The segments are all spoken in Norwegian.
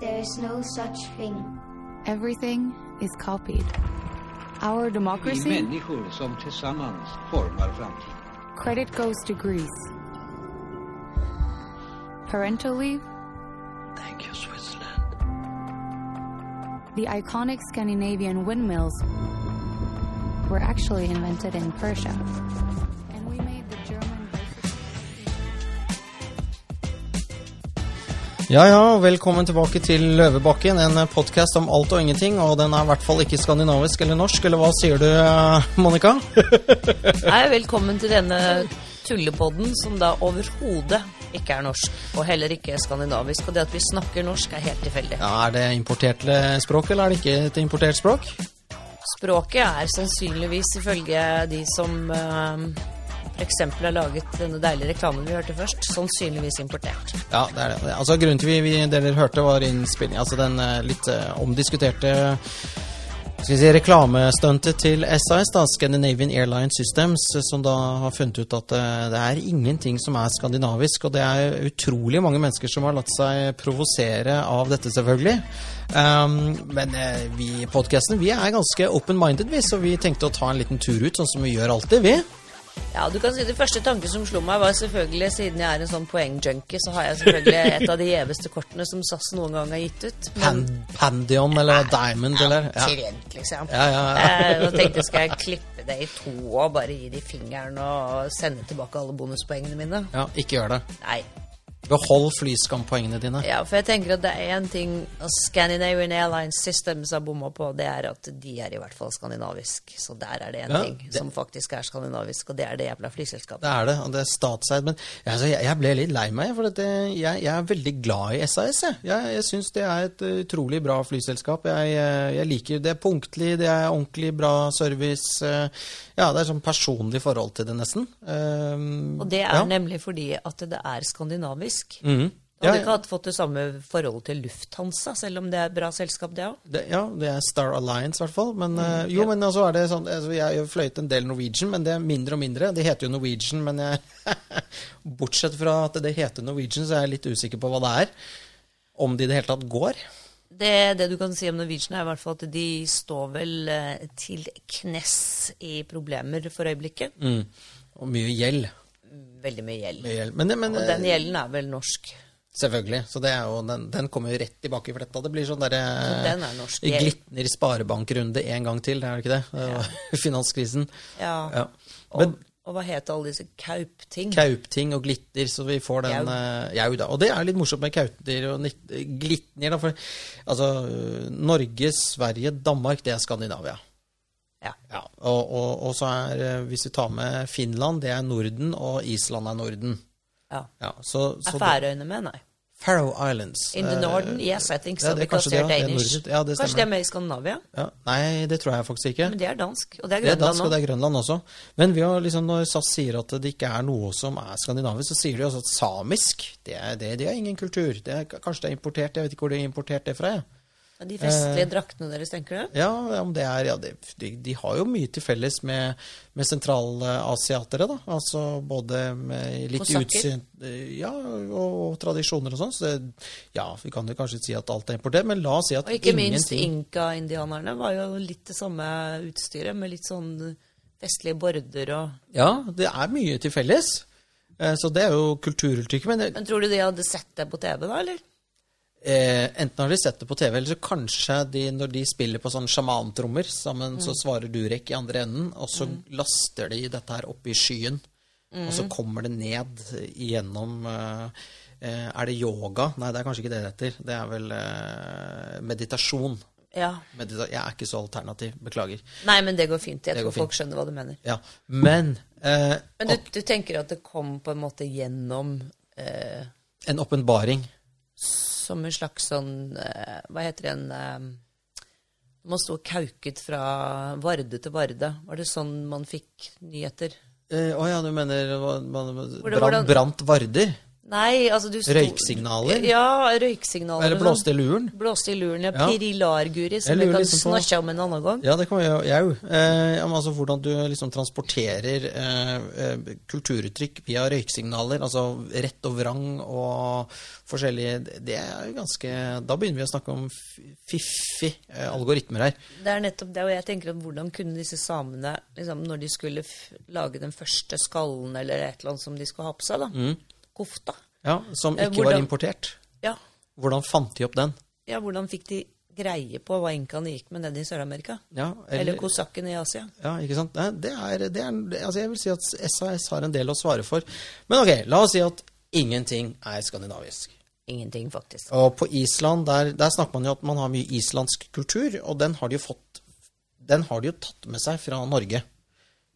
There is no such thing. Everything is copied. Our Vi democracy, människor som tillsammans formar framtiden. credit goes to Greece. Parental leave, Thank you, Switzerland. the iconic Scandinavian windmills were actually invented in Persia. And we made the German Ja ja, velkommen tilbake til Løvebakken, en podkast om alt og ingenting. Og den er i hvert fall ikke skandinavisk eller norsk, eller hva sier du, eh, Monica? Hei, velkommen til denne tullepodden som da overhodet ikke er norsk, og heller ikke skandinavisk. Og det at vi snakker norsk er helt tilfeldig. Ja, er det importert eh, språk, eller er det ikke et importert språk? Språket er sannsynligvis ifølge de som eh, for eksempel har laget denne deilige reklamen vi hørte først, sannsynligvis importert. Ja, det er det. Altså, grunnen til vi, vi dere hørte, var innspilling, altså den eh, litt eh, omdiskuterte skal vi si, reklamestuntet til SAS, da, Scandinavian Airline Systems, eh, som da har funnet ut at eh, det er ingenting som er skandinavisk. Og det er utrolig mange mennesker som har latt seg provosere av dette, selvfølgelig. Um, men eh, vi i podkasten vi er ganske open-minded, vi, så vi tenkte å ta en liten tur ut, sånn som vi gjør alltid, vi. Ja, du kan si det første tanken som slo meg, var selvfølgelig, siden jeg er en sånn poengjunkie, så har jeg selvfølgelig et av de gjeveste kortene som SAS noen gang har gitt ut. Men Pan Pandion eller Diamond eller ja. omtrent, liksom. Ja, ja, ja. Eh, og tenkte skal jeg klippe det i to og bare gi de fingeren og sende tilbake alle bonuspoengene mine. ja, ikke gjør det. Nei. Behold flyskampoengene dine. Ja, for jeg tenker at det er én ting Scandinavian Airlines Systems har bomma på, det er at de er i hvert fall skandinavisk. Så der er det én Ja, ting det- som faktisk er skandinavisk, og det er det jævla flyselskapet. Det er det, og det er statseid. Men altså, jeg, jeg ble litt lei meg, for at eh, jeg, jeg er veldig glad i SAS. Jeg, jeg, jeg syns det er et eh, utrolig bra flyselskap. Jeg, eh, jeg liker det er punktlig, det er ordentlig bra service. eh, Ja, det er sånn personlig forhold til det, nesten. Um, Og det er ja. nemlig fordi at det er skandinavisk. Mhm. Du hadde Ja, ikke hatt fått det samme forholdet til Lufthansa, selv om det er et bra selskap, det òg. det, ja, det er Star Alliance, i hvert fall. Men, Mm, eh, jo, men altså er det sånn altså, Jeg har jo fløyet en del Norwegian, men det er mindre og mindre. Det heter jo Norwegian, men jeg Bortsett fra at det heter Norwegian, så er jeg litt usikker på hva det er. Om det i det hele tatt går. Det, det du kan si om Norwegian, er i hvert fall at de står vel eh, til knes i problemer for øyeblikket. Og mye gjeld. Veldig mye gjeld. Mm. Mye gjeld. Men, men Og den gjelden er vel norsk. selvfølgelig. Så det er jo, den, den kommer jo rett tilbake i fletta. Det blir sånn Så derre den er norsk gjeld. Glitner sparebankrunde en gang til, er det ikke det? Det var Finanskrisen. Ja. Ja. Men Og, og hva het alle disse Kaup-ting? Kaupting og glitter, så vi får den Jau. eh, Jau, da. Og det er litt morsomt med kauter og nitt- glitner, da. For altså eh, Norge, Sverige, Danmark, det er Skandinavia. Ja. Og, og, og så er, eh, hvis vi tar med Finland, det er Norden, og Island er Norden. ja. Ja, så, så Er det- Færøyene med? Nei. Faroe Islands. In the Eh, Norden? Yes, I think so. det- det- because kanskje they're det, ja, det er Danish. nordisk. Ja, det kanskje stemmer. de er med i Skandinavia? Ja, nei, det tror jeg faktisk ikke. Men det er dansk. Og det er Det er Grønland dansk, og nå. det er Grønland også. Men vi har liksom, når SAS sier at det ikke er noe som er skandinavisk, så sier de også at samisk, det er, det, det er ingen kultur. Det er, kanskje det er importert, jeg vet ikke hvor de har importert det fra. jeg. De Eh, festlige draktene deres, tenker du? Ja, om det er, ja det, de, de har jo mye til felles med, med sentralasiatere, da. Altså både med litt Kosakker. utsyn Ja, og, og tradisjoner og sånn. Så det, ja, vi kan jo kanskje si at alt er importert, men la oss si at Og ikke minst ingenting inka-indianerne var jo litt det samme utstyret, med litt sånn festlige border og Ja, det er mye til felles. Eh, Så det er jo kulturuttrykket. Men det- Men tror du de hadde sett det på TV, da, eller? eh, enten har de sett det på TV, eller så kanskje de, når de spiller på sånne sjamantrommer sammen, Mm. så svarer Durek i andre enden, og så laster de dette her opp i skyen. Og Mm. så kommer det ned igjennom eh, eh, Er det yoga? Nei, det er kanskje ikke det det heter. Det er vel eh, meditasjon. Ja. Medita jeg er ikke så alternativ, beklager. Nei, men det går fint. Jeg Det går tror folk skjønner hva du mener. Ja, Men eh, Men du, du tenker at det kom på en måte gjennom eh, en åpenbaring. som en slags sånn eh, Hva heter det en eh, Man sto og kauket fra Varde til Varde. Var det sånn man fikk nyheter? Eh, Å ja, du mener hva- man, det- brant, hvordan- brant Varder? Nei, altså du sto- Røyksignaler? Ja, røyksignaler. Eller og blåste sånn. i luren? Blåste i luren, ja. Ja. Pirilarguri, Jeg som vi lurer kan liksom på- snakke om en annen gang. Ja, det kan vi gjøre. Jeg, jo. eh, ja, men altså hvordan du liksom transporterer eh, eh, kulturuttrykk via røyksignaler, altså rett og vrang og forskjellige Det er jo ganske Da begynner vi å snakke om f- fiffig eh, algoritmer her. Det er nettopp det, og jeg tenker at hvordan kunne disse samene, liksom, når de skulle f lage den første skallen eller et eller annet som de skulle ha på seg, da, Mm. kofta, Ja, Som Eh, ikke var hvordan- importert. ja. Hvordan fant de opp den? ja, hvordan fikk de greie på hva enkaene gikk med nede i Sør-Amerika? Ja, Eller kosakkene i Asia? Ja, ikke sant? Nei, Det er, det er, altså jeg vil si at SAS har en del å svare for. Men ok, la oss si at ingenting er skandinavisk. Ingenting, faktisk. Og på Island, der, der snakker man jo at man har mye islandsk kultur, og den har de jo fått Den har de jo tatt med seg fra Norge.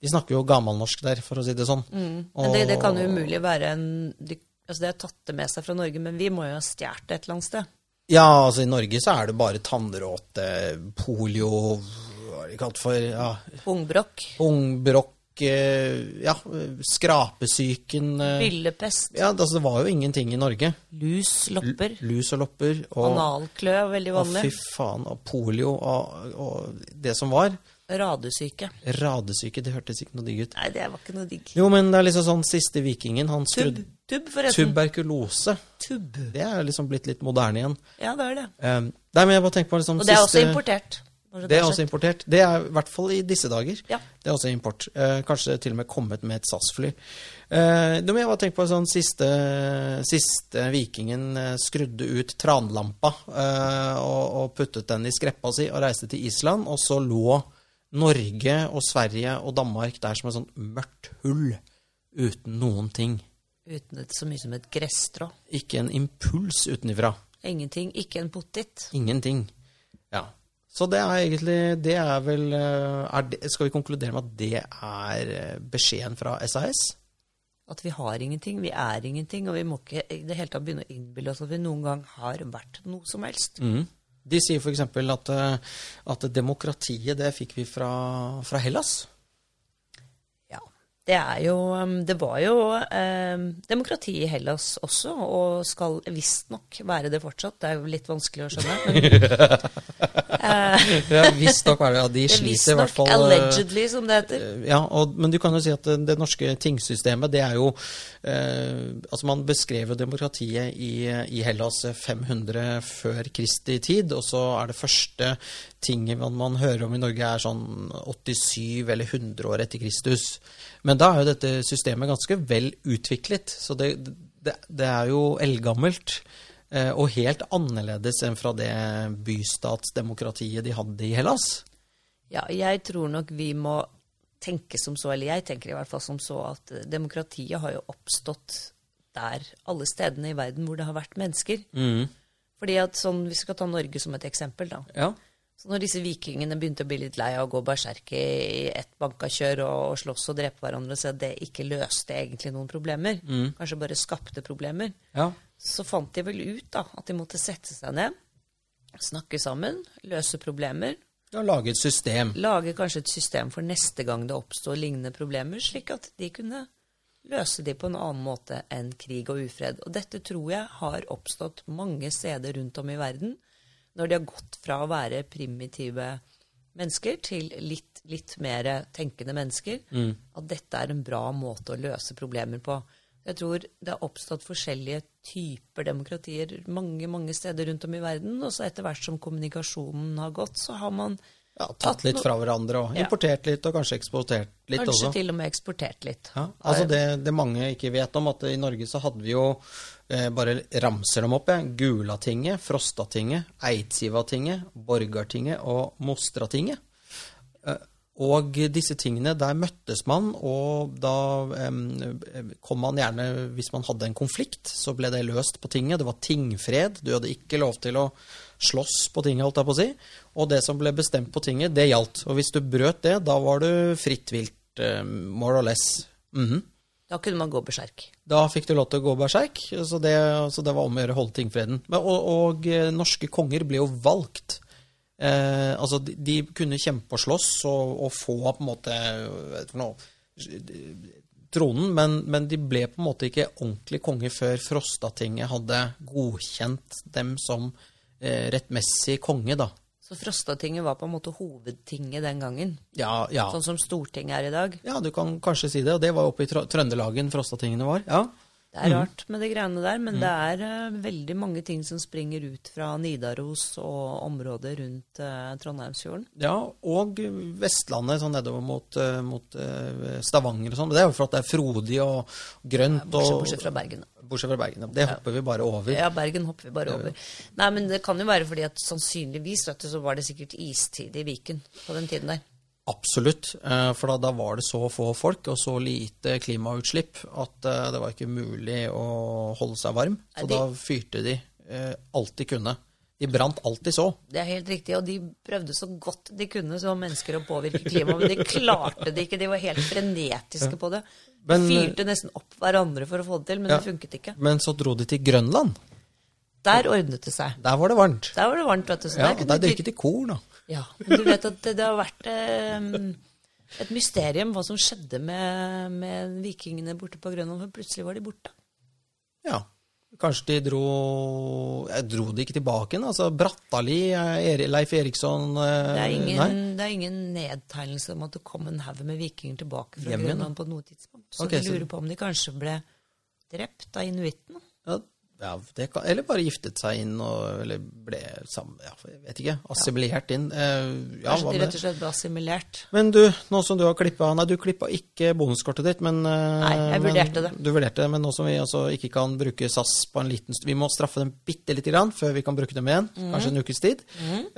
De snakker jo gammelnorsk der, for å si det sånn. Men det, det kan jo umulig være en de, Altså, det er tatt det med seg fra Norge, men vi må jo ha stjålet det et eller annet sted. Ja, altså i Norge så er det bare tannråte, polio Hva er det kalt for? Ja, Pungbrokk, Ungbrokk eh, Ja, skrapesyken eh, byllepest, Ja, det- altså, det var jo ingenting i Norge. lus, lopper, Lus og lopper og, analklø, veldig og fy vanlig, faen, og polio og, og det som var. radesyke. Radesyke, det hørtes ikke noe digg ut. Nei, det var ikke noe digg. Jo, men det er liksom sånn siste vikingen, han Tubb, skrudde tubb forresten. Tuberkulose. Tubb. Det er liksom blitt litt moderne igjen. Ja, det er det. Um, nei, men jeg bare tenker på liksom Og det er også siste- importert. bare så Det er er også sagt. importert. Det er i hvert fall i disse dager. Ja. Det er også import. Eh, kanskje til og med kommet med et SAS-fly. Eh, nå må jeg bare tenke på sånn siste, siste vikingen eh, skrudde ut tranlampa eh, og, og puttet den i skreppa si og reiste til Island, og så lå Norge og Sverige og Danmark der som et sånt mørkt hull uten noen ting. Uten et, så mye som et gresstrå. Ikke en impuls utenfra. Ingenting. Ikke en potet. Ingenting. Ja. Så det er egentlig Det er vel eh, er det, Skal vi konkludere med at det er eh, beskjeden fra SAS? At vi har ingenting, vi er ingenting, og vi må ikke i det hele tatt begynne å innbille oss at vi noen gang har vært noe som helst. Mm. De sier f.eks. At, eh, at demokratiet, det fikk vi fra, fra Hellas. Ja. Det er jo um, Det var jo um, demokrati i Hellas også, og skal visstnok være det fortsatt. Det er jo litt vanskelig å skjønne. Men Ja, Visstnok er det ja, de det er sliter i hvert visstnok fall eh, allegedly, som det heter. ja, og, men du kan jo si at det, det norske tingsystemet, det er jo eh, Altså, man beskrev jo demokratiet i, i Hellas 500 før Kristi tid, og så er det første tinget man, man hører om i Norge, er sånn 87 eller 100 år etter Kristus. Men da er jo dette systemet ganske vel utviklet, så det, det, det er jo eldgammelt. eh, Og helt annerledes enn fra det bystatsdemokratiet de hadde i Hellas. Ja, jeg tror nok vi må tenke som så, eller jeg tenker i hvert fall som så, at eh, demokratiet har jo oppstått der, alle stedene i verden hvor det har vært mennesker. Fordi at sånn, Hvis vi skal ta Norge som et eksempel, da. Ja. Så når disse vikingene begynte å bli litt lei av å gå berserk i ett bankakjør og, og slåss og drepe hverandre, og se at det ikke løste egentlig noen problemer, kanskje bare skapte problemer, Ja. så fant de vel ut da, at de måtte sette seg ned, snakke sammen, løse problemer, Det å lage et system. lage kanskje et system for neste gang det oppstår lignende problemer, slik at de kunne løse de på en annen måte enn krig og ufred. Og dette tror jeg har oppstått mange steder rundt om i verden, når de har gått fra å være primitive mennesker til litt, litt mer tenkende mennesker, at dette er en bra måte å løse problemer på. Jeg tror det har oppstått forskjellige typer demokratier mange, mange steder rundt om i verden, og så etter hvert som kommunikasjonen har gått, så har man Ja, tatt litt noe- fra hverandre og Ja. importert litt, og kanskje eksportert litt Kanskje også. til og med eksportert litt. Ja, altså det, det mange ikke vet om, at i Norge så hadde vi jo eh, bare ramser dem opp, jeg. Gulatinget, Frostatinget, Eidsivatinget, Borgartinget og Mostratinget. Eh, og disse tingene, der møttes man, og da em, kom man gjerne Hvis man hadde en konflikt, så ble det løst på tinget. Det var tingfred. Du hadde ikke lov til å slåss på tinget, holdt jeg på å si. Og det som ble bestemt på tinget, det gjaldt. Og hvis du brøt det, da var du fritt vilt, eh, more or less. Mhm. Da kunne man gå berserk. Da fikk du lov til å gå berserk, så det, så det var om å gjøre å holde tingfreden. Men, og, og eh, norske konger ble jo valgt. Eh, altså, de, de kunne kjempe og slåss og, og få på en måte vet du for noe, tronen, men, men de ble på en måte ikke ordentlig konge før Frostatinget hadde godkjent dem som eh, rettmessig konge, da. Så Frostatinget var på en måte hovedtinget den gangen. Ja, ja. Sånn som Stortinget er i dag. ja, du kan kanskje si det. Og det var jo oppe i Trø- Trøndelagen Frostatingene var. Ja. Det Mhm. er rart med de greiene der, men det er eh, veldig mange ting som springer ut fra Nidaros og området rundt eh, Trondheimsfjorden. ja, og Vestlandet, sånn nedover mot, eh, mot eh, Stavanger og sånn. Men Det er jo for at det er frodig og grønt. Bortsett, og, bortsett fra Bergen. da. Bortsett fra Bergen. ja. Det hopper vi bare over. Ja, Bergen hopper vi bare over. Nei, men det kan jo være fordi at sannsynligvis vet du, så var det sikkert istid i Viken på den tiden der. Absolutt. eh, For da, da var det så få folk og så lite klimautslipp at eh, det var ikke mulig å holde seg varm. Så Nei, de- da fyrte de eh, alt de kunne. De brant alt de så. Det er helt riktig, og de prøvde så godt de kunne som mennesker å påvirke klimaet, men de klarte det ikke. De var helt frenetiske på det. De Men- fyrte nesten opp hverandre for å få det til, men Ja. det funket ikke. Men så dro de til Grønland. Der ordnet det seg. Der var det varmt. Der var det varmt, vet du. Så Ja, der og kunne der dyrket de korn, da. Ja, men du vet at det, det har vært eh, et mysterium hva som skjedde med, med vikingene borte på Grønland, for plutselig var de borte. Ja. Kanskje de dro eh, Dro de ikke tilbake igjen? Altså Brattali, eh, Eri- Leif Eriksson eh, Det er Nei? ingen, det er ingen nedtegnelse om at det kom en haug med vikinger tilbake fra Hjem igjen, Grønland på noe tidspunkt. Så Ok, vi så- lurer på om de kanskje ble drept av inuittene. Ja, ja, det kan, eller bare giftet seg inn og Eller ble sammen ja, Jeg vet ikke. Assimilert inn. Eh, ja, Kanskje hva de med rett og slett ble assimilert. Men du, nå som du har klippa Nei, du klippa ikke bonuskortet ditt, men eh, Nei, jeg men- vurderte det. Du vurderte det, men nå som vi altså ikke kan bruke SAS på en liten stund Vi må straffe dem bitte lite grann før vi kan bruke dem igjen. Mhm. Kanskje en ukes tid.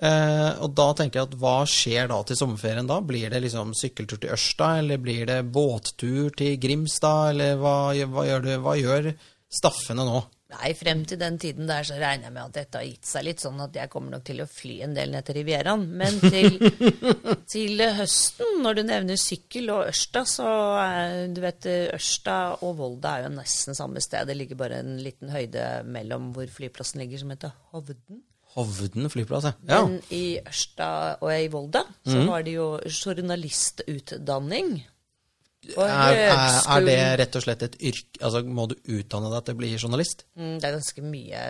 Eh, og da tenker jeg at hva skjer da til sommerferien da? Blir det liksom sykkeltur til Ørsta, eller blir det båttur til Grimstad, eller hva, gjør- hva gjør du? Hva gjør staffene nå? Nei, frem til den tiden der så regner jeg med at dette har gitt seg litt, sånn at jeg kommer nok til å fly en del ned til Rivieraen. Men til, til høsten, når du nevner sykkel og Ørsta, så eh, du vet Ørsta og Volda er jo nesten samme sted. Det ligger bare en liten høyde mellom hvor flyplassen ligger, som heter Hovden. Hovden flyplass, ja. Mm. ja. Men i Ørsta og i Volda så var det jo journalistutdanning. Og Er, er, er det høgskolen- rett og slett et yrke Altså, må du utdanne deg til å bli journalist? Mm, Det er ganske mye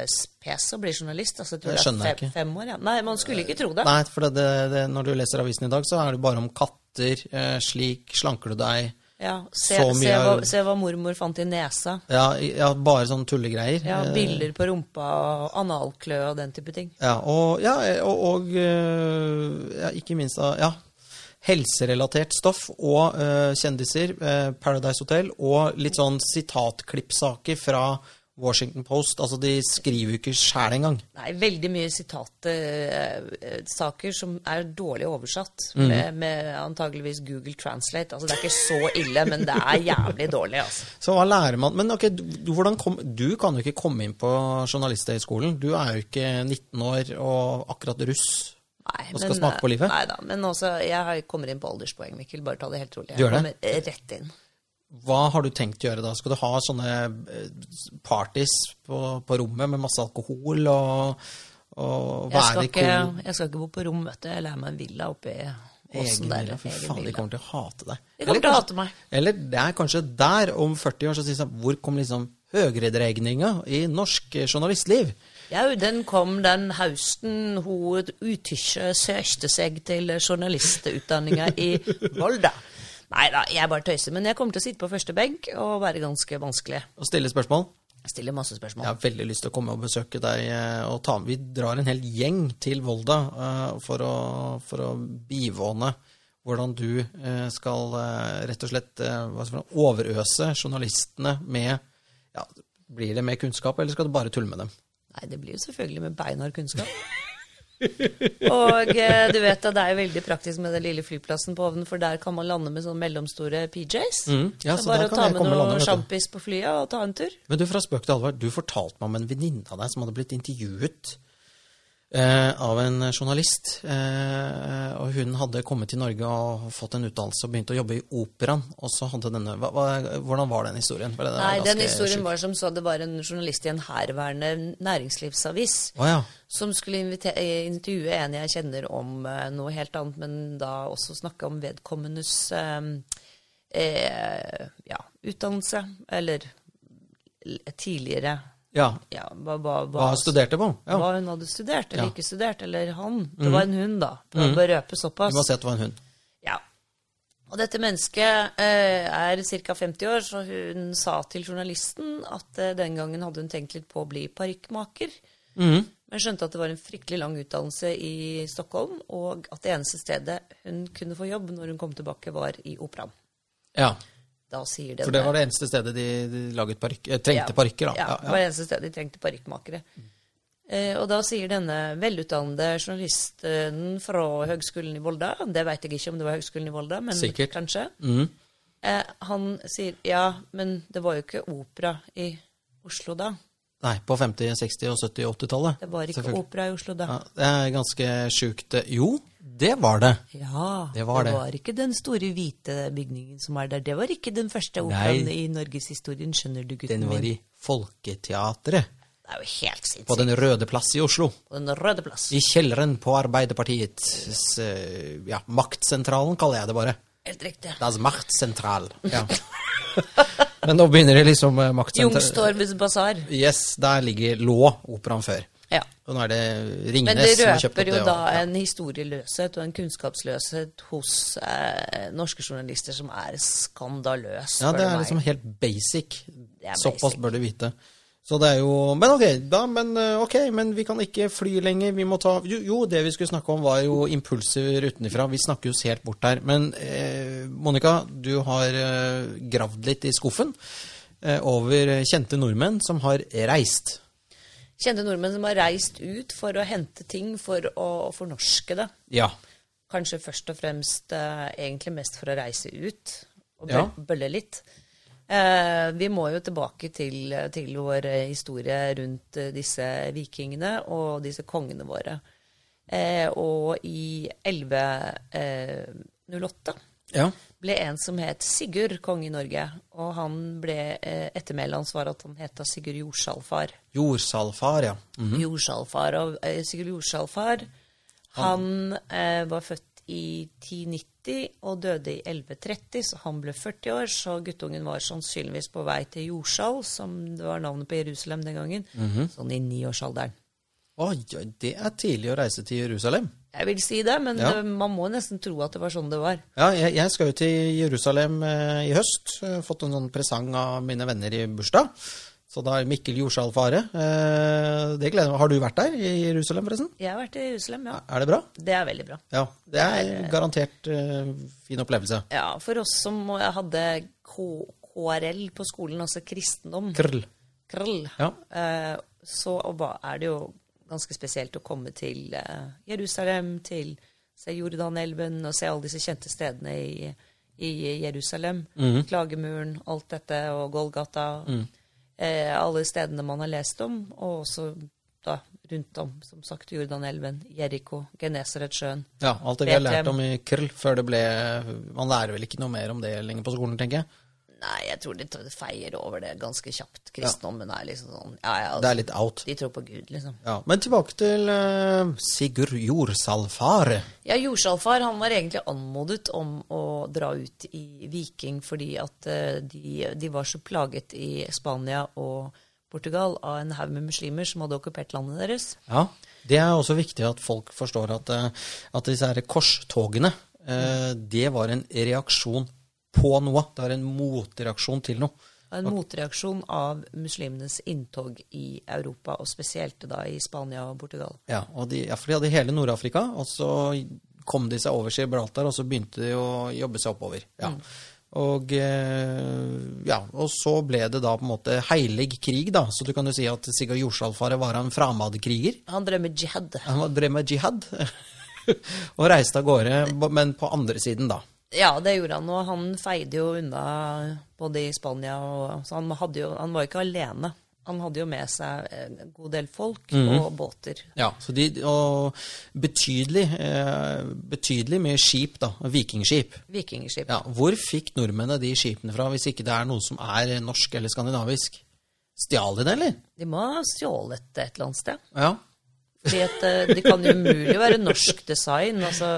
pes å bli journalist. Altså, jeg tror Det det skjønner jeg er fem, ikke. fem år, ja. Nei, man skulle ikke tro det. Nei, for det, det, det, når du leser avisen i dag, så er det bare om katter. Eh, slik slanker du deg. Ja, se, Så mye se, hva, er- se hva mormor fant i nesa. Ja, i- ja bare sånne tullegreier. Ja, Eh, Biller på rumpa og analklø og den type ting. ja, og ja, eh, og, og eh, ja, ikke minst da, ja, helserelatert stoff og eh, kjendiser, eh, Paradise Hotel, og litt sånn sitatklippsaker fra Washington Post. Altså, de skriver jo ikke sjæl engang. Nei, veldig mye sitatsaker som er dårlig oversatt, Mm. med, med antageligvis Google Translate. Altså, det er ikke så ille, men det er jævlig dårlig, altså. Så hva lærer man Men ok, du, du- hvordan kom, du kan jo ikke komme inn på Journalisthøgskolen. Du er jo ikke 19 år og akkurat russ. Nei, Og skal smake på livet? Nei da, men også, jeg har- kommer inn på alderspoeng, Mikkel. Bare ta det helt rolig. Jeg Du gjør det? kommer rett inn. Hva har du tenkt å gjøre da? Skal du ha sånne eh, parties på, på rommet med masse alkohol og, og Jeg være skal, i ikke, cool? jeg skal ikke bo på rom, vet du. Jeg leier meg en villa oppi åsen Egen der. villa. Fy Egen faen, de villa. kommer til å hate deg. De kommer til å hate meg. Eller det er kanskje der, om 40 år, så sier de sånn Hvor kom liksom høyredregninga i norsk eh, journalistliv? Jau, den kom den høsten hun utysje søkte seg til journalistutdanninga i Volda. Nei da, jeg bare tøyser. Men jeg kommer til å sitte på første benk og være ganske vanskelig. Og stille spørsmål? Stille masse spørsmål. Jeg har veldig lyst til å komme og besøke deg. eh, Og ta, vi drar en hel gjeng til Volda eh, for, å, for å bivåne hvordan du eh, skal eh, rett og slett eh, hva skal jeg si, overøse journalistene med ja, Blir det med kunnskap, eller skal du bare tulle med dem? Nei, det blir jo selvfølgelig med beinhard kunnskap. Og eh, du vet at det er jo veldig praktisk med den lille flyplassen på ovnen, for der kan man lande med sånne mellomstore PJs. Mm, ja, så der bare å kan ta jeg med komme og lande, noe vet du. sjampis på flyet og ta en tur. Men du, fra spøk til alvor, du fortalte meg om en venninne av deg som hadde blitt intervjuet eh, av en journalist. Eh, og hun hadde kommet til Norge og fått en utdannelse og begynt å jobbe i operaen. Og så hadde denne, hva, hva, hvordan var den historien? For den er Nei, den ganske historien sjuk. var som så det var en journalist i en herværende næringslivsavis Å ja. som skulle invite- eh, intervjue en jeg kjenner om eh, noe helt annet, men da også snakke om vedkommendes eh, eh, ja, utdannelse, eller l- tidligere Ja. ja, hva, hva, hva, Hva studerte på? Ja. hva hun hadde studert, eller Ja. ikke studert, eller han. Det var en hund, da. Det var Mhm. bare å røpe Vi må såpass. si at det var en hund. Ja. Og dette mennesket eh, er ca. 50 år, så hun sa til journalisten at eh, den gangen hadde hun tenkt litt på å bli parykkmaker, Mhm. men skjønte at det var en fryktelig lang utdannelse i Stockholm, og at det eneste stedet hun kunne få jobb når hun kom tilbake, var i operaen. Ja. Da sier det For det var det eneste stedet de, de laget parykk, eh, trengte parykker, da. Ja, Ja, det var det eneste stedet de trengte parykkmakere. Eh, og da sier denne velutdannede journalisten fra Høgskolen i Volda Det veit jeg ikke om det var Høgskolen i Volda, men Sikkert. kanskje. Mhm. Eh, han sier ja, men det var jo ikke opera i Oslo da. Nei, på 50-, 60- og 70- og 80-tallet. Det var ikke selvfølgelig. opera i Oslo da. Ja, det er ganske sjukt. Jo, det var det. Ja, Det var det. ikke den store hvite bygningen som er der. Det var ikke den første operaen i norgeshistorien, skjønner du, gutten Den var min. i Folketeatret. Det er jo helt På sinnssykt. Den røde plass i Oslo. På den røde plass. I kjelleren på Arbeiderpartiets eh, ja, maktsentralen, kaller jeg det bare. Helt riktig. Das Machtsentral. Ja. Men nå begynner det liksom eh, maktsentral... Jungstormens basar. Yes, der ligger lå operaen før. Ja. Og nå er det Men det Ringnes som har kjøpt opp det. røper jo og- da ja. en historieløshet og en kunnskapsløshet hos eh, norske journalister som er skandaløs. Ja, spør det du er meg. liksom helt basic. er Såpass basic. bør du vite. Så det er jo Men ok, da, men, eh, ok, men vi kan ikke fly lenger. Vi må ta jo, jo, det vi skulle snakke om, var jo impulser utenfra. Vi snakker oss helt bort her. Men eh, Monica, du har eh, gravd litt i skuffen eh, over kjente nordmenn som har reist. Kjente nordmenn som har reist ut for å hente ting for å fornorske det. Ja. Kanskje først og fremst eh, egentlig mest for å reise ut og bø Ja. bølle litt. Eh, vi må jo tilbake til, til vår eh, historie rundt eh, disse vikingene og disse kongene våre. Eh, og i 1108 Ja. ble en som het Sigurd konge i Norge. Og han ble eh, ettermælet hans var at han heta Sigurd Jordsalfar. Jordsalfar, ja. Mm. Jordsalfar. Og eh, Sigurd Jordsalfar han eh, var født i 1090 og døde i 1130, så han ble 40 år. Så guttungen var sannsynligvis på vei til Jordsal, som det var navnet på Jerusalem den gangen, sånn i niårsalderen. Oi, oi, det er tidlig å reise til Jerusalem. Jeg vil si det, men Ja. eh, man må nesten tro at det var sånn det var. Ja, jeg, jeg skal jo til Jerusalem eh, i høst. Jeg har fått en sånn presang av mine venner i bursdag. Så da er Mikkel Jordskjalv Fare. Eh, det gleder jeg meg. Har du vært der i Jerusalem, forresten? Jeg har vært i Jerusalem, ja. Er det bra? Det er veldig bra. Ja. Det er garantert eh, fin opplevelse. Ja, For oss som eh, hadde K KRL på skolen, altså kristendom Krøll. krøll, Ja. eh, så hva er det jo ganske spesielt å komme til eh, Jerusalem, til se Jordanelven og se alle disse kjente stedene i, i Jerusalem. Mhm. Klagemuren, alt dette, og Golgata. Mm. Eh, alle stedene man har lest om, og også da rundt om, som sagt, Jordanelven, Jeriko, Genesaretsjøen. Ja, alt det vi har Betlehem. lært om i krøll før det ble Man lærer vel ikke noe mer om det lenger på skolen, tenker jeg. Nei, jeg tror de tar- feier over det ganske kjapt. Kristendommen er liksom sånn Ja, ja, Det er litt out. de tror på Gud, liksom. Ja, Men tilbake til eh, Sigurd Jordsalfare. Ja, Jordsalfar han var egentlig anmodet om å dra ut i Viking fordi at eh, de, de var så plaget i Spania og Portugal av en haug med muslimer som hadde okkupert landet deres. Ja, Det er også viktig at folk forstår at, eh, at disse her korstogene eh, det var en reaksjon på noe. Det var en motreaksjon til noe. Og En motreaksjon av muslimenes inntog i Europa, og spesielt da i Spania og Portugal. Ja, og de, ja, for de hadde hele Nord-Afrika, og så kom de seg over Gibraltar, og så begynte de å jobbe seg oppover. Ja. Og, eh, ja, og så ble det da på en måte heilig krig, da. Så du kan jo si at Sigurd Jorsalfare var en framadkriger. Han drømmer jihad. Han var- drev med jihad og reiste av gårde, men på andre siden, da. Ja, det gjorde han, og han feide jo unna både i Spania og så han, hadde jo, han var ikke alene. Han hadde jo med seg eh, en god del folk og båter. Ja, så de, og betydelig, eh, betydelig med skip, da. Vikingskip. Vikingskip. Ja, hvor fikk nordmennene de skipene fra, hvis ikke det er noe som er norsk eller skandinavisk? Stjal de det, eller? De må ha stjålet det et eller annet sted. Ja. Fordi at eh, det kan jo umulig være norsk design. Altså,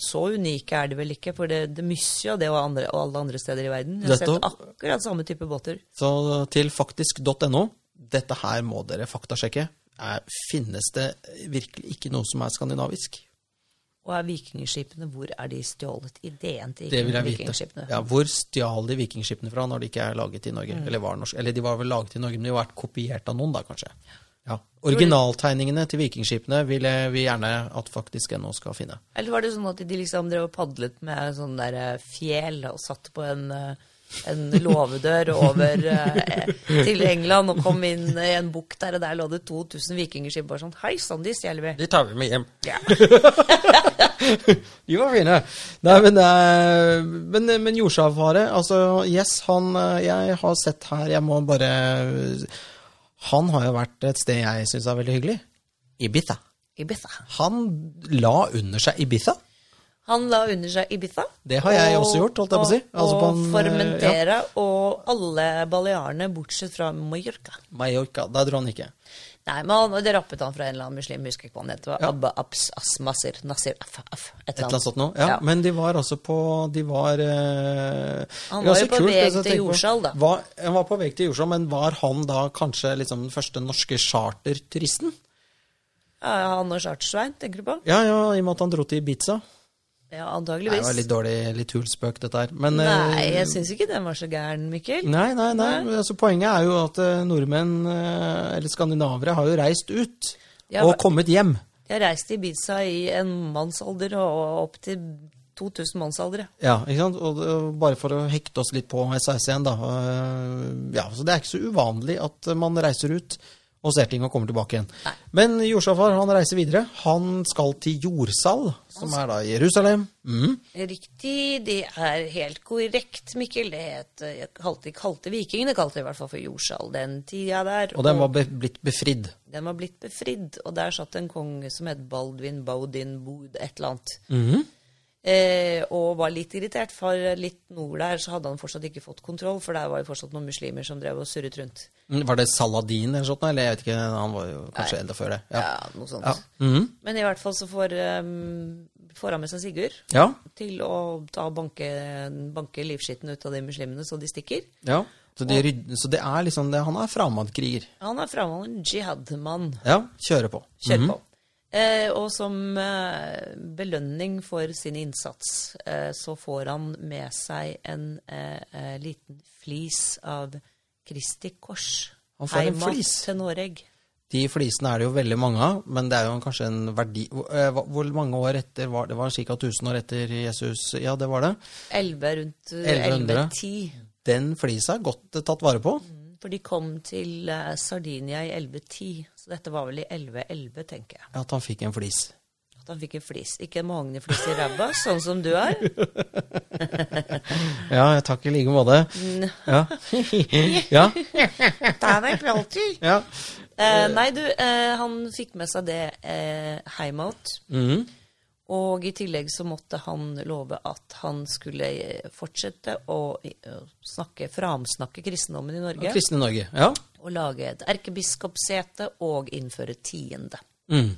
Så unike er de vel ikke, for det, det mysjer jo det og, andre, og alle andre steder i verden. Jeg har sett Nettopp. akkurat samme type båter. Så til faktisk.no. Dette her må dere faktasjekke. Er, finnes det virkelig ikke noe som er skandinavisk? Og er vikingskipene, hvor er de stjålet? Ideen til Det vil jeg vite. vikingskipene. Ja, hvor stjal de vikingskipene fra når de ikke er laget i Norge? Eller, var norsk, eller de var vel laget i Norge, men de har vært kopiert av noen, da, kanskje. Ja. Originaltegningene til vikingskipene vil jeg- vi gjerne at faktisk NO skal finne. Eller var det sånn at de liksom drev og padlet med sånn der eh, fjel og satt på en, eh, en låvedør over eh, til England og kom inn i en bukt der, og der lå det 2000 vikingskip bare sånn Hei sann, de stjeler vi. De tar vi med hjem. De var fine! Nei, men, eh, men, men jordshavare Altså, yes, han eh, Jeg har sett her Jeg må bare Han har jo vært et sted jeg syns er veldig hyggelig. Ibiza. Ibiza. Han la under seg Ibiza. Han la under seg Ibiza. Det har jeg også gjort, holdt jeg på å si. Altså og på en, eh, Formentera og alle balearene, bortsett fra Mallorca. Mallorca. Der dro han ikke. Nei, men han, det rappet han fra en eller annen muslim, jeg husker ikke hva han het. Det var Abba Abs Asmasir Nasir Af, Af, Et et eller eller annet annet. sånt noe. Ja, Ja. Men de var altså på De var eh, det er Han var jo så på kult, vei altså, til tenk på- Jordsal, da. Var, han var på vei til Jordsal, men var han da kanskje liksom den første norske charterturisten? Ja, han og Chartersvein, tenker du på? Ja, ja, i og med at han dro til Ibiza. Ja, Nei, Det antageligvis. var litt dårlig, litt hul spøk, dette her. Men eh, Nei, jeg syns ikke den var så gæren, Mikkel. Nei, nei, nei. Altså, poenget er jo at eh, nordmenn, eh, eller skandinavere, har jo reist ut. Ja, og men- kommet hjem. Jeg reiste i Ibiza i en mannsalder og og opp til 2000 mannsalder. jeg. Ja, ikke sant? Og, og bare for å hekte oss litt på SAS igjen, da. øh, Ja, så Det er ikke så uvanlig at man reiser ut og ser ting og kommer tilbake igjen. Men Jordsafar han reiser videre. Han skal til Jordsal, som er da i Jerusalem. Mm. Riktig, det er helt korrekt, Mikkel. Det het jeg kalte, kalte vikingene kalte det i hvert fall for Jordsal den tida der. Og den var be blitt befridd. den var blitt befridd, og der satt en konge som het Baldvin Baudin Boud, et eller annet. Mhm. eh, og var litt irritert, for litt nord der så hadde han fortsatt ikke fått kontroll, for der var jo fortsatt noen muslimer som drev og surret rundt. Mm, Var det Saladin eller sånt? Eller jeg vet ikke, han var jo kanskje enda før det. Ja. Ja, noe sånt. Ja. Mhm. Men i hvert fall så får, ehm, får han med seg Sigurd Ja. til å ta og banke, banke livskitten ut av de muslimene så de stikker. ja. Så, de ryd så det er liksom det, Han er fremmedkriger. Han er framholden jihad-mann. Ja, kjører på. Mhm. Kjør på. Eh, og som eh, belønning for sin innsats eh, så får han med seg en eh, eh, liten flis av Kristi Kors. Han får en Heimat flis? til Noreg. De flisene er det jo veldig mange av, men det er jo kanskje en verdi Hvor eh, hva- hvor mange år etter var det? Det var ca. 1000 år etter Jesus. Ja, det var det. 11 rundt eh, 1100. 1110. Den flisa er godt eh, tatt vare på. For de kom til eh, Sardinia i 1110, så dette var vel i 1111, tenker jeg. At han fikk en flis. At han fikk en flis. Ikke en mahogniflis i ræva, sånn som du er. Ja, takk i like måte. Ja. ja. ja. Eh, nei, du, eh, han fikk med seg det eh, heimat. Og i tillegg så måtte han love at han skulle eh, fortsette å eh, snakke, framsnakke kristendommen i Norge. Kristne Norge. Ja. og lage et erkebiskopsete og innføre tiende. Mm.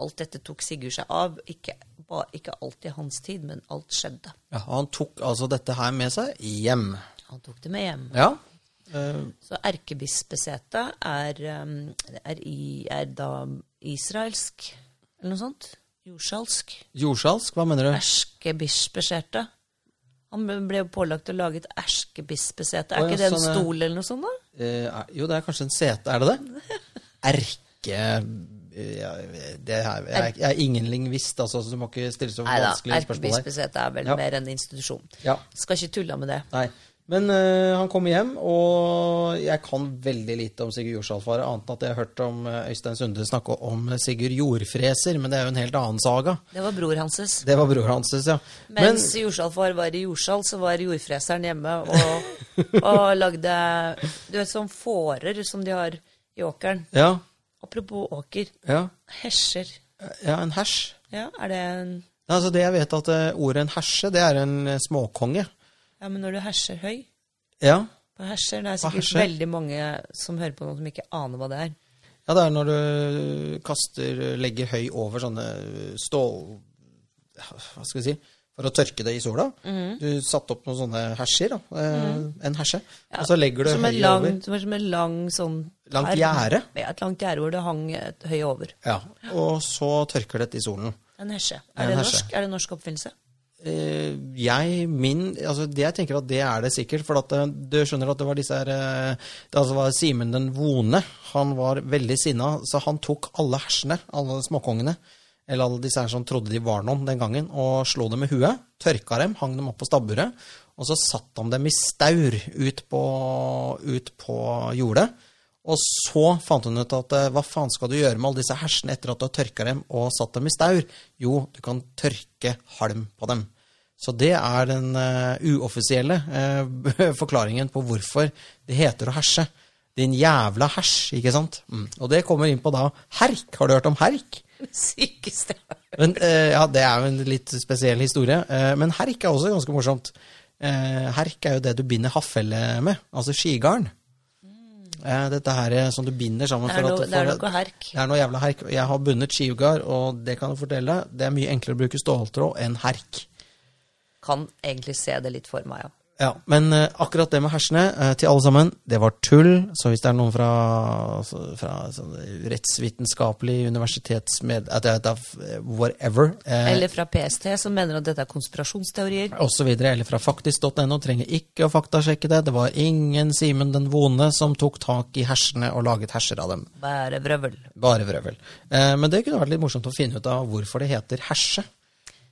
Alt dette tok Sigurd seg av. Ikke, ba- ikke alt i hans tid, men alt skjedde. ja. Han tok altså dette her med seg hjem. Han tok det med hjem. Ja. Så erkebispesetet er, um, er, i, er da israelsk, eller noe sånt. Jordsalsk. Jordsalsk, hva mener du? Erkebispesete. Han ble- ble jo pålagt å lage et Å, erkebispesete. ja, Er ikke det en sånn, eh, stol eller noe sånt, da? Eh, er- jo, det er kanskje en sete, er det det? Erke eh, ja, det er, jeg, jeg er ingen lingvist, altså, så du må ikke stille så Nei da, vanskelige spørsmål her. erkebispesete er vel Ja. mer en institusjon. Ja. Skal ikke tulle med det. Nei. Men eh, han kommer hjem, og jeg kan veldig lite om Sigurd Jorsalfare, annet enn at jeg har hørt om eh, Øystein Sunde snakke om Sigurd Jordfreser, men det er jo en helt annen saga. Det var bror hanses. Det var bror hans, synes jeg. Men, Mens jordsalfar var i jordsal, så var jordfreseren hjemme og, og lagde Du vet, sånn fårer som de har i åkeren. ja, Apropos åker. ja, Hesjer. ja, en hersj. Ja, er det en Altså, det jeg vet at eh, ordet en hersje, det er en eh, småkonge. Ja, men når du herser høy Ja, på herser Det er sikkert herser? veldig mange som hører på noe som ikke aner hva det er. Ja, det er når du kaster, legger høy over sånne stål... hva skal vi si, for å tørke det i sola. Du satte opp noen sånne hersjer, da. eh, en hersje. og så legger du Som en høyet lang, over. som er som en lang sånn Langt perm. gjerde? Ja, et langt gjerde hvor det hang et høye over. Ja, og så tørker dette i solen. En hesje. En Er det hesje. norsk, er det norsk oppfinnelse? Eh, jeg, min altså det Jeg tenker at det er det sikkert. For at eh, du skjønner at det var disse her eh, Det altså var Simen den vonde. Han var veldig sinna, så han tok alle hersene, alle småkongene, eller alle disse her som trodde de var noen den gangen, og slo dem med huet. Tørka dem, hang dem opp på stabburet. Og så satte han dem i staur ut på, ut på jordet. Og så fant hun ut at eh, hva faen skal du gjøre med alle disse hersene etter at du har tørka dem og satt dem i staur? Jo, du kan tørke halm på dem. Så det er den eh, uoffisielle eh, forklaringen på hvorfor det heter å herse. Din jævla hersj, ikke sant? Mm. Og det kommer inn på da herk. Har du hørt om herk? Sykeste jeg har hørt. Men, eh, ja, det er jo en litt spesiell historie. Eh, men herk er også ganske morsomt. Eh, herk er jo det du binder haffelle med, altså skigarn. Eh, dette her eh, som du binder sammen Det er for noe- at det er for at- noe herk. Det er noe jævla herk. Jeg har bundet skigarn, og det kan jeg fortelle deg, det er mye enklere å bruke ståltråd enn herk. Kan egentlig se det litt for meg, ja. Ja, Men eh, akkurat det med hersene eh, til alle sammen, det var tull. Så hvis det er noen fra, så- fra sånn rettsvitenskapelig universitetsmed... At jeg vet da, f- whatever. eh, Eller fra PST, som mener at dette er konspirasjonsteorier. og så videre, eller fra faktisk.no, trenger ikke å faktasjekke det. Det var ingen Simen den vonde som tok tak i hersene og laget herser av dem. Bare vrøvl. Bare vrøvel. Eh, men det kunne vært litt morsomt å finne ut av hvorfor det heter herse.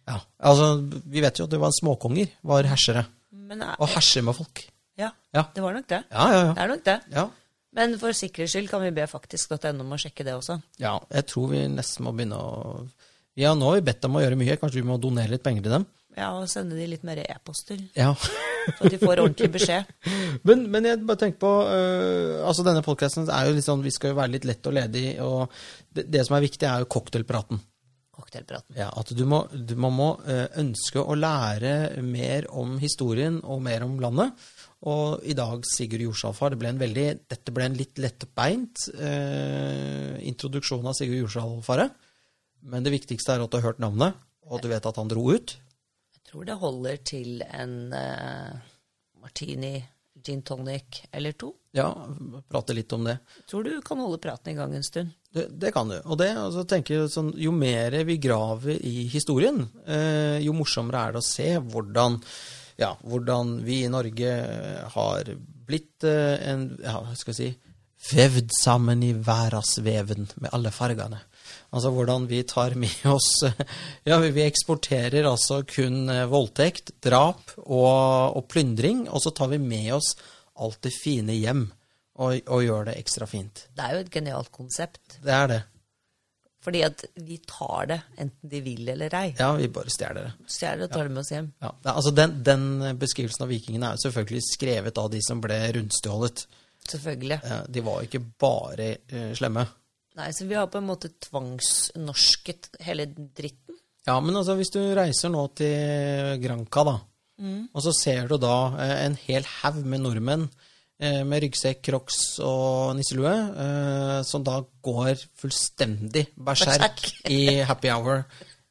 Ja, altså, Vi vet jo at det var småkonger var hersere. Men eh, Og herser med folk. ja, Ja. det var nok det. Ja, ja, Det ja. er nok det. ja. Men for sikkerhets skyld kan vi be faktisk.no om å sjekke det også. ja jeg tror vi nesten må begynne å Ja, nå har vi bedt dem å gjøre mye. Kanskje vi må donere litt penger til dem? Ja, og sende de litt mer e-poster, Ja. så de får ordentlig beskjed. Men, men jeg bare tenker på øh, Altså Denne podkasten er jo litt sånn Vi skal jo være litt lett og ledig, og det, det som er viktig, er jo cocktailpraten. Cocktailpraten. Ja, At du må, du, man må øh, ønske å lære mer om historien og mer om landet. Og i dag, Sigurd Jorsalfar, det ble en veldig, dette ble en litt lettbeint øh, introduksjon av Sigurd Jorsalfaret. Men det viktigste er at du har hørt navnet, og du vet at han dro ut. Jeg tror det holder til en eh, martini, gin tonic eller to. Ja, prate litt om det. Jeg tror du kan holde praten i gang en stund. Det, det kan du. Og det, og så tenker jeg sånn, jo mer vi graver i historien, eh, jo morsommere er det å se hvordan, ja, hvordan vi i Norge eh, har blitt eh, en ja, hva skal jeg si, vevd sammen i verdensveven med alle fargene. Altså hvordan vi tar med oss eh, Ja, vi vi eksporterer altså kun eh, voldtekt, drap og, og plyndring, og så tar vi med oss alt det fine hjem og, og gjør det ekstra fint. Det er jo et genialt konsept. Det er det. Fordi at vi tar det, enten de vil eller ei. Ja, vi bare stjeler det. Stjeler og tar det med oss hjem. Ja, det- altså den, den beskrivelsen av vikingene er jo selvfølgelig skrevet av de som ble rundstjålet. Selvfølgelig. Eh, De var jo ikke bare eh, slemme. Nei, så vi har på en måte tvangsnorsket hele dritten. Ja, men altså hvis du reiser nå til Granca, da, og så ser du da eh, en hel haug med nordmenn eh, med ryggsekk, crocs og nisselue, eh, som da går fullstendig berserk Berserk. i happy hour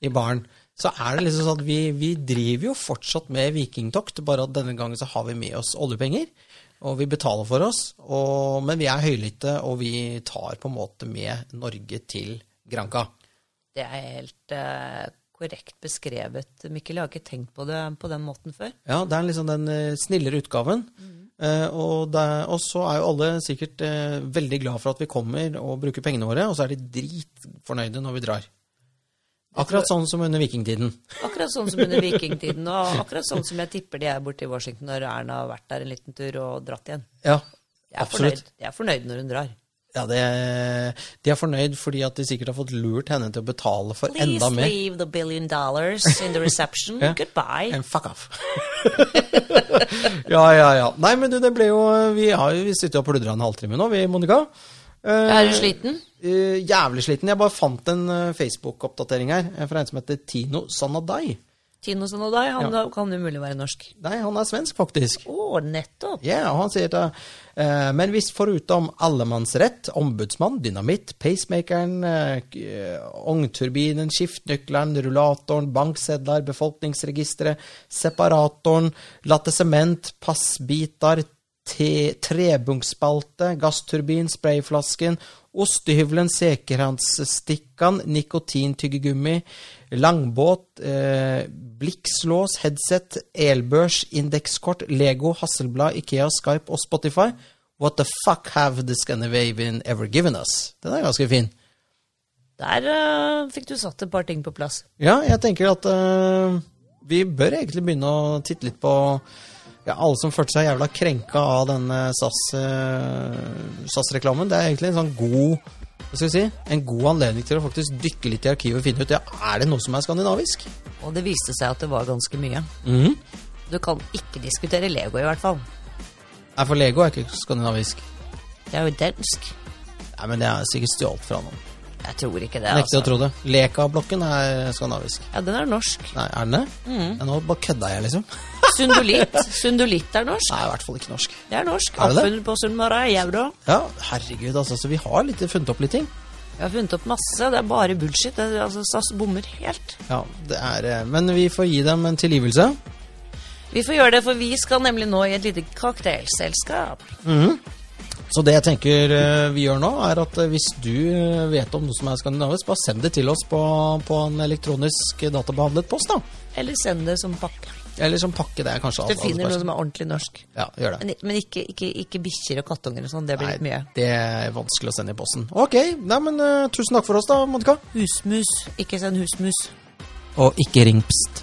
i baren. Så er det liksom sånn at vi, vi driver jo fortsatt med vikingtokt, bare at denne gangen så har vi med oss oljepenger. Og vi betaler for oss, og, men vi er høylytte, og vi tar på en måte med Norge til Granca. Det er helt eh, korrekt beskrevet. Mikkel, jeg har ikke tenkt på det på den måten før. Ja, det er liksom den eh, snillere utgaven. Mm. Eh, og, det, og så er jo alle sikkert eh, veldig glad for at vi kommer og bruker pengene våre, og så er de dritfornøyde når vi drar. Akkurat sånn som under vikingtiden. Akkurat sånn som under vikingtiden, og akkurat sånn som jeg tipper de er borte i Washington når Erna har vært der en liten tur og dratt igjen. Ja, Jeg er, absolutt. fornøyd. Jeg er fornøyd når hun drar. Ja, det, de er fornøyd fordi at de sikkert har fått lurt henne til å betale for enda Please mer. leave the billion dollars in the reception. Ja. Goodbye. And fuck off. ja, ja, ja. Nei, men du, det ble jo Vi har jo vi sitter jo og pludra en halvtime nå, vi, Monica. Eh, Er du sliten? Eh, jævlig sliten. Jeg bare fant en eh, Facebook-oppdatering her eh, fra en som heter Tino Sanadai. Tinosen og deg, han da kan umulig være norsk. Nei, han er svensk, faktisk. Å, nettopp! Ja, og han sier da eh, Men hvis forutom allemannsrett, ombudsmann, dynamitt, pacemakeren, eh, k- eh, ognturbinen, skiftnøkkelen, rullatoren, banksedler, befolkningsregisteret, separatoren, lattesement, passbiter, te, trebunkspalte, gassturbin, sprayflasken, ostehyvelen, sekerhandsstikkene, nikotintyggegummi, langbåt, eh, blikkslås, headset, elbørs, indekskort, Lego, Hasselblad, Ikea, Skype og Spotify. What the fuck have the Scandinavian ever given us? Den er ganske fin. Der eh, fikk du satt et par ting på plass. Ja, jeg tenker at eh, vi bør egentlig begynne å titte litt på ja, alle som følte seg jævla krenka av denne eh, SAS-reklamen. det er egentlig en sånn god hva skal vi si, en god anledning til å faktisk dykke litt i arkivet og finne ut ja, er det noe som er skandinavisk. Og det viste seg at det var ganske mye. Mhm. Du kan ikke diskutere Lego, i hvert fall. Nei, for Lego er ikke skandinavisk. Det er jo dansk. Nei, men det er sikkert stjålet fra noen. Jeg tror ikke det. Nekter Altså. å tro det. Leka-blokken er skandinavisk. Ja, den er norsk. Nei, er den det? Ja, Nå bare kødda jeg, liksom. Sundulitt. Sundulitt er norsk. Nei, i hvert fall ikke norsk. Det er norsk. Er det det? Oppfunnet på Sunnmøre. Jeg, da. Ja, herregud, altså. Så vi har litt, funnet opp litt ting. Jeg har funnet opp masse. Det er bare bullshit. Det, er- altså, SAS bommer helt. Ja, det er eh, Men vi får gi dem en tilgivelse. Vi får gjøre det, for vi skal nemlig nå i et lite cocktailselskap. Så det jeg tenker eh, vi gjør nå, er at eh, hvis du eh, vet om noe som er skandinavisk, bare send det til oss på, på en elektronisk eh, databehandlet post, da. Eller send det som pakke. Eller som pakke, det er kanskje Du alt. finner noe som er ordentlig norsk. Ja, gjør det. Men, men ikke, ikke, ikke bikkjer og kattunger og sånn. Det blir litt Nei, mye. det er vanskelig å sende i posten. Ok, nei, men eh, tusen takk for oss, da, Monica. Husmus. Ikke send husmus. Og ikke ring pst.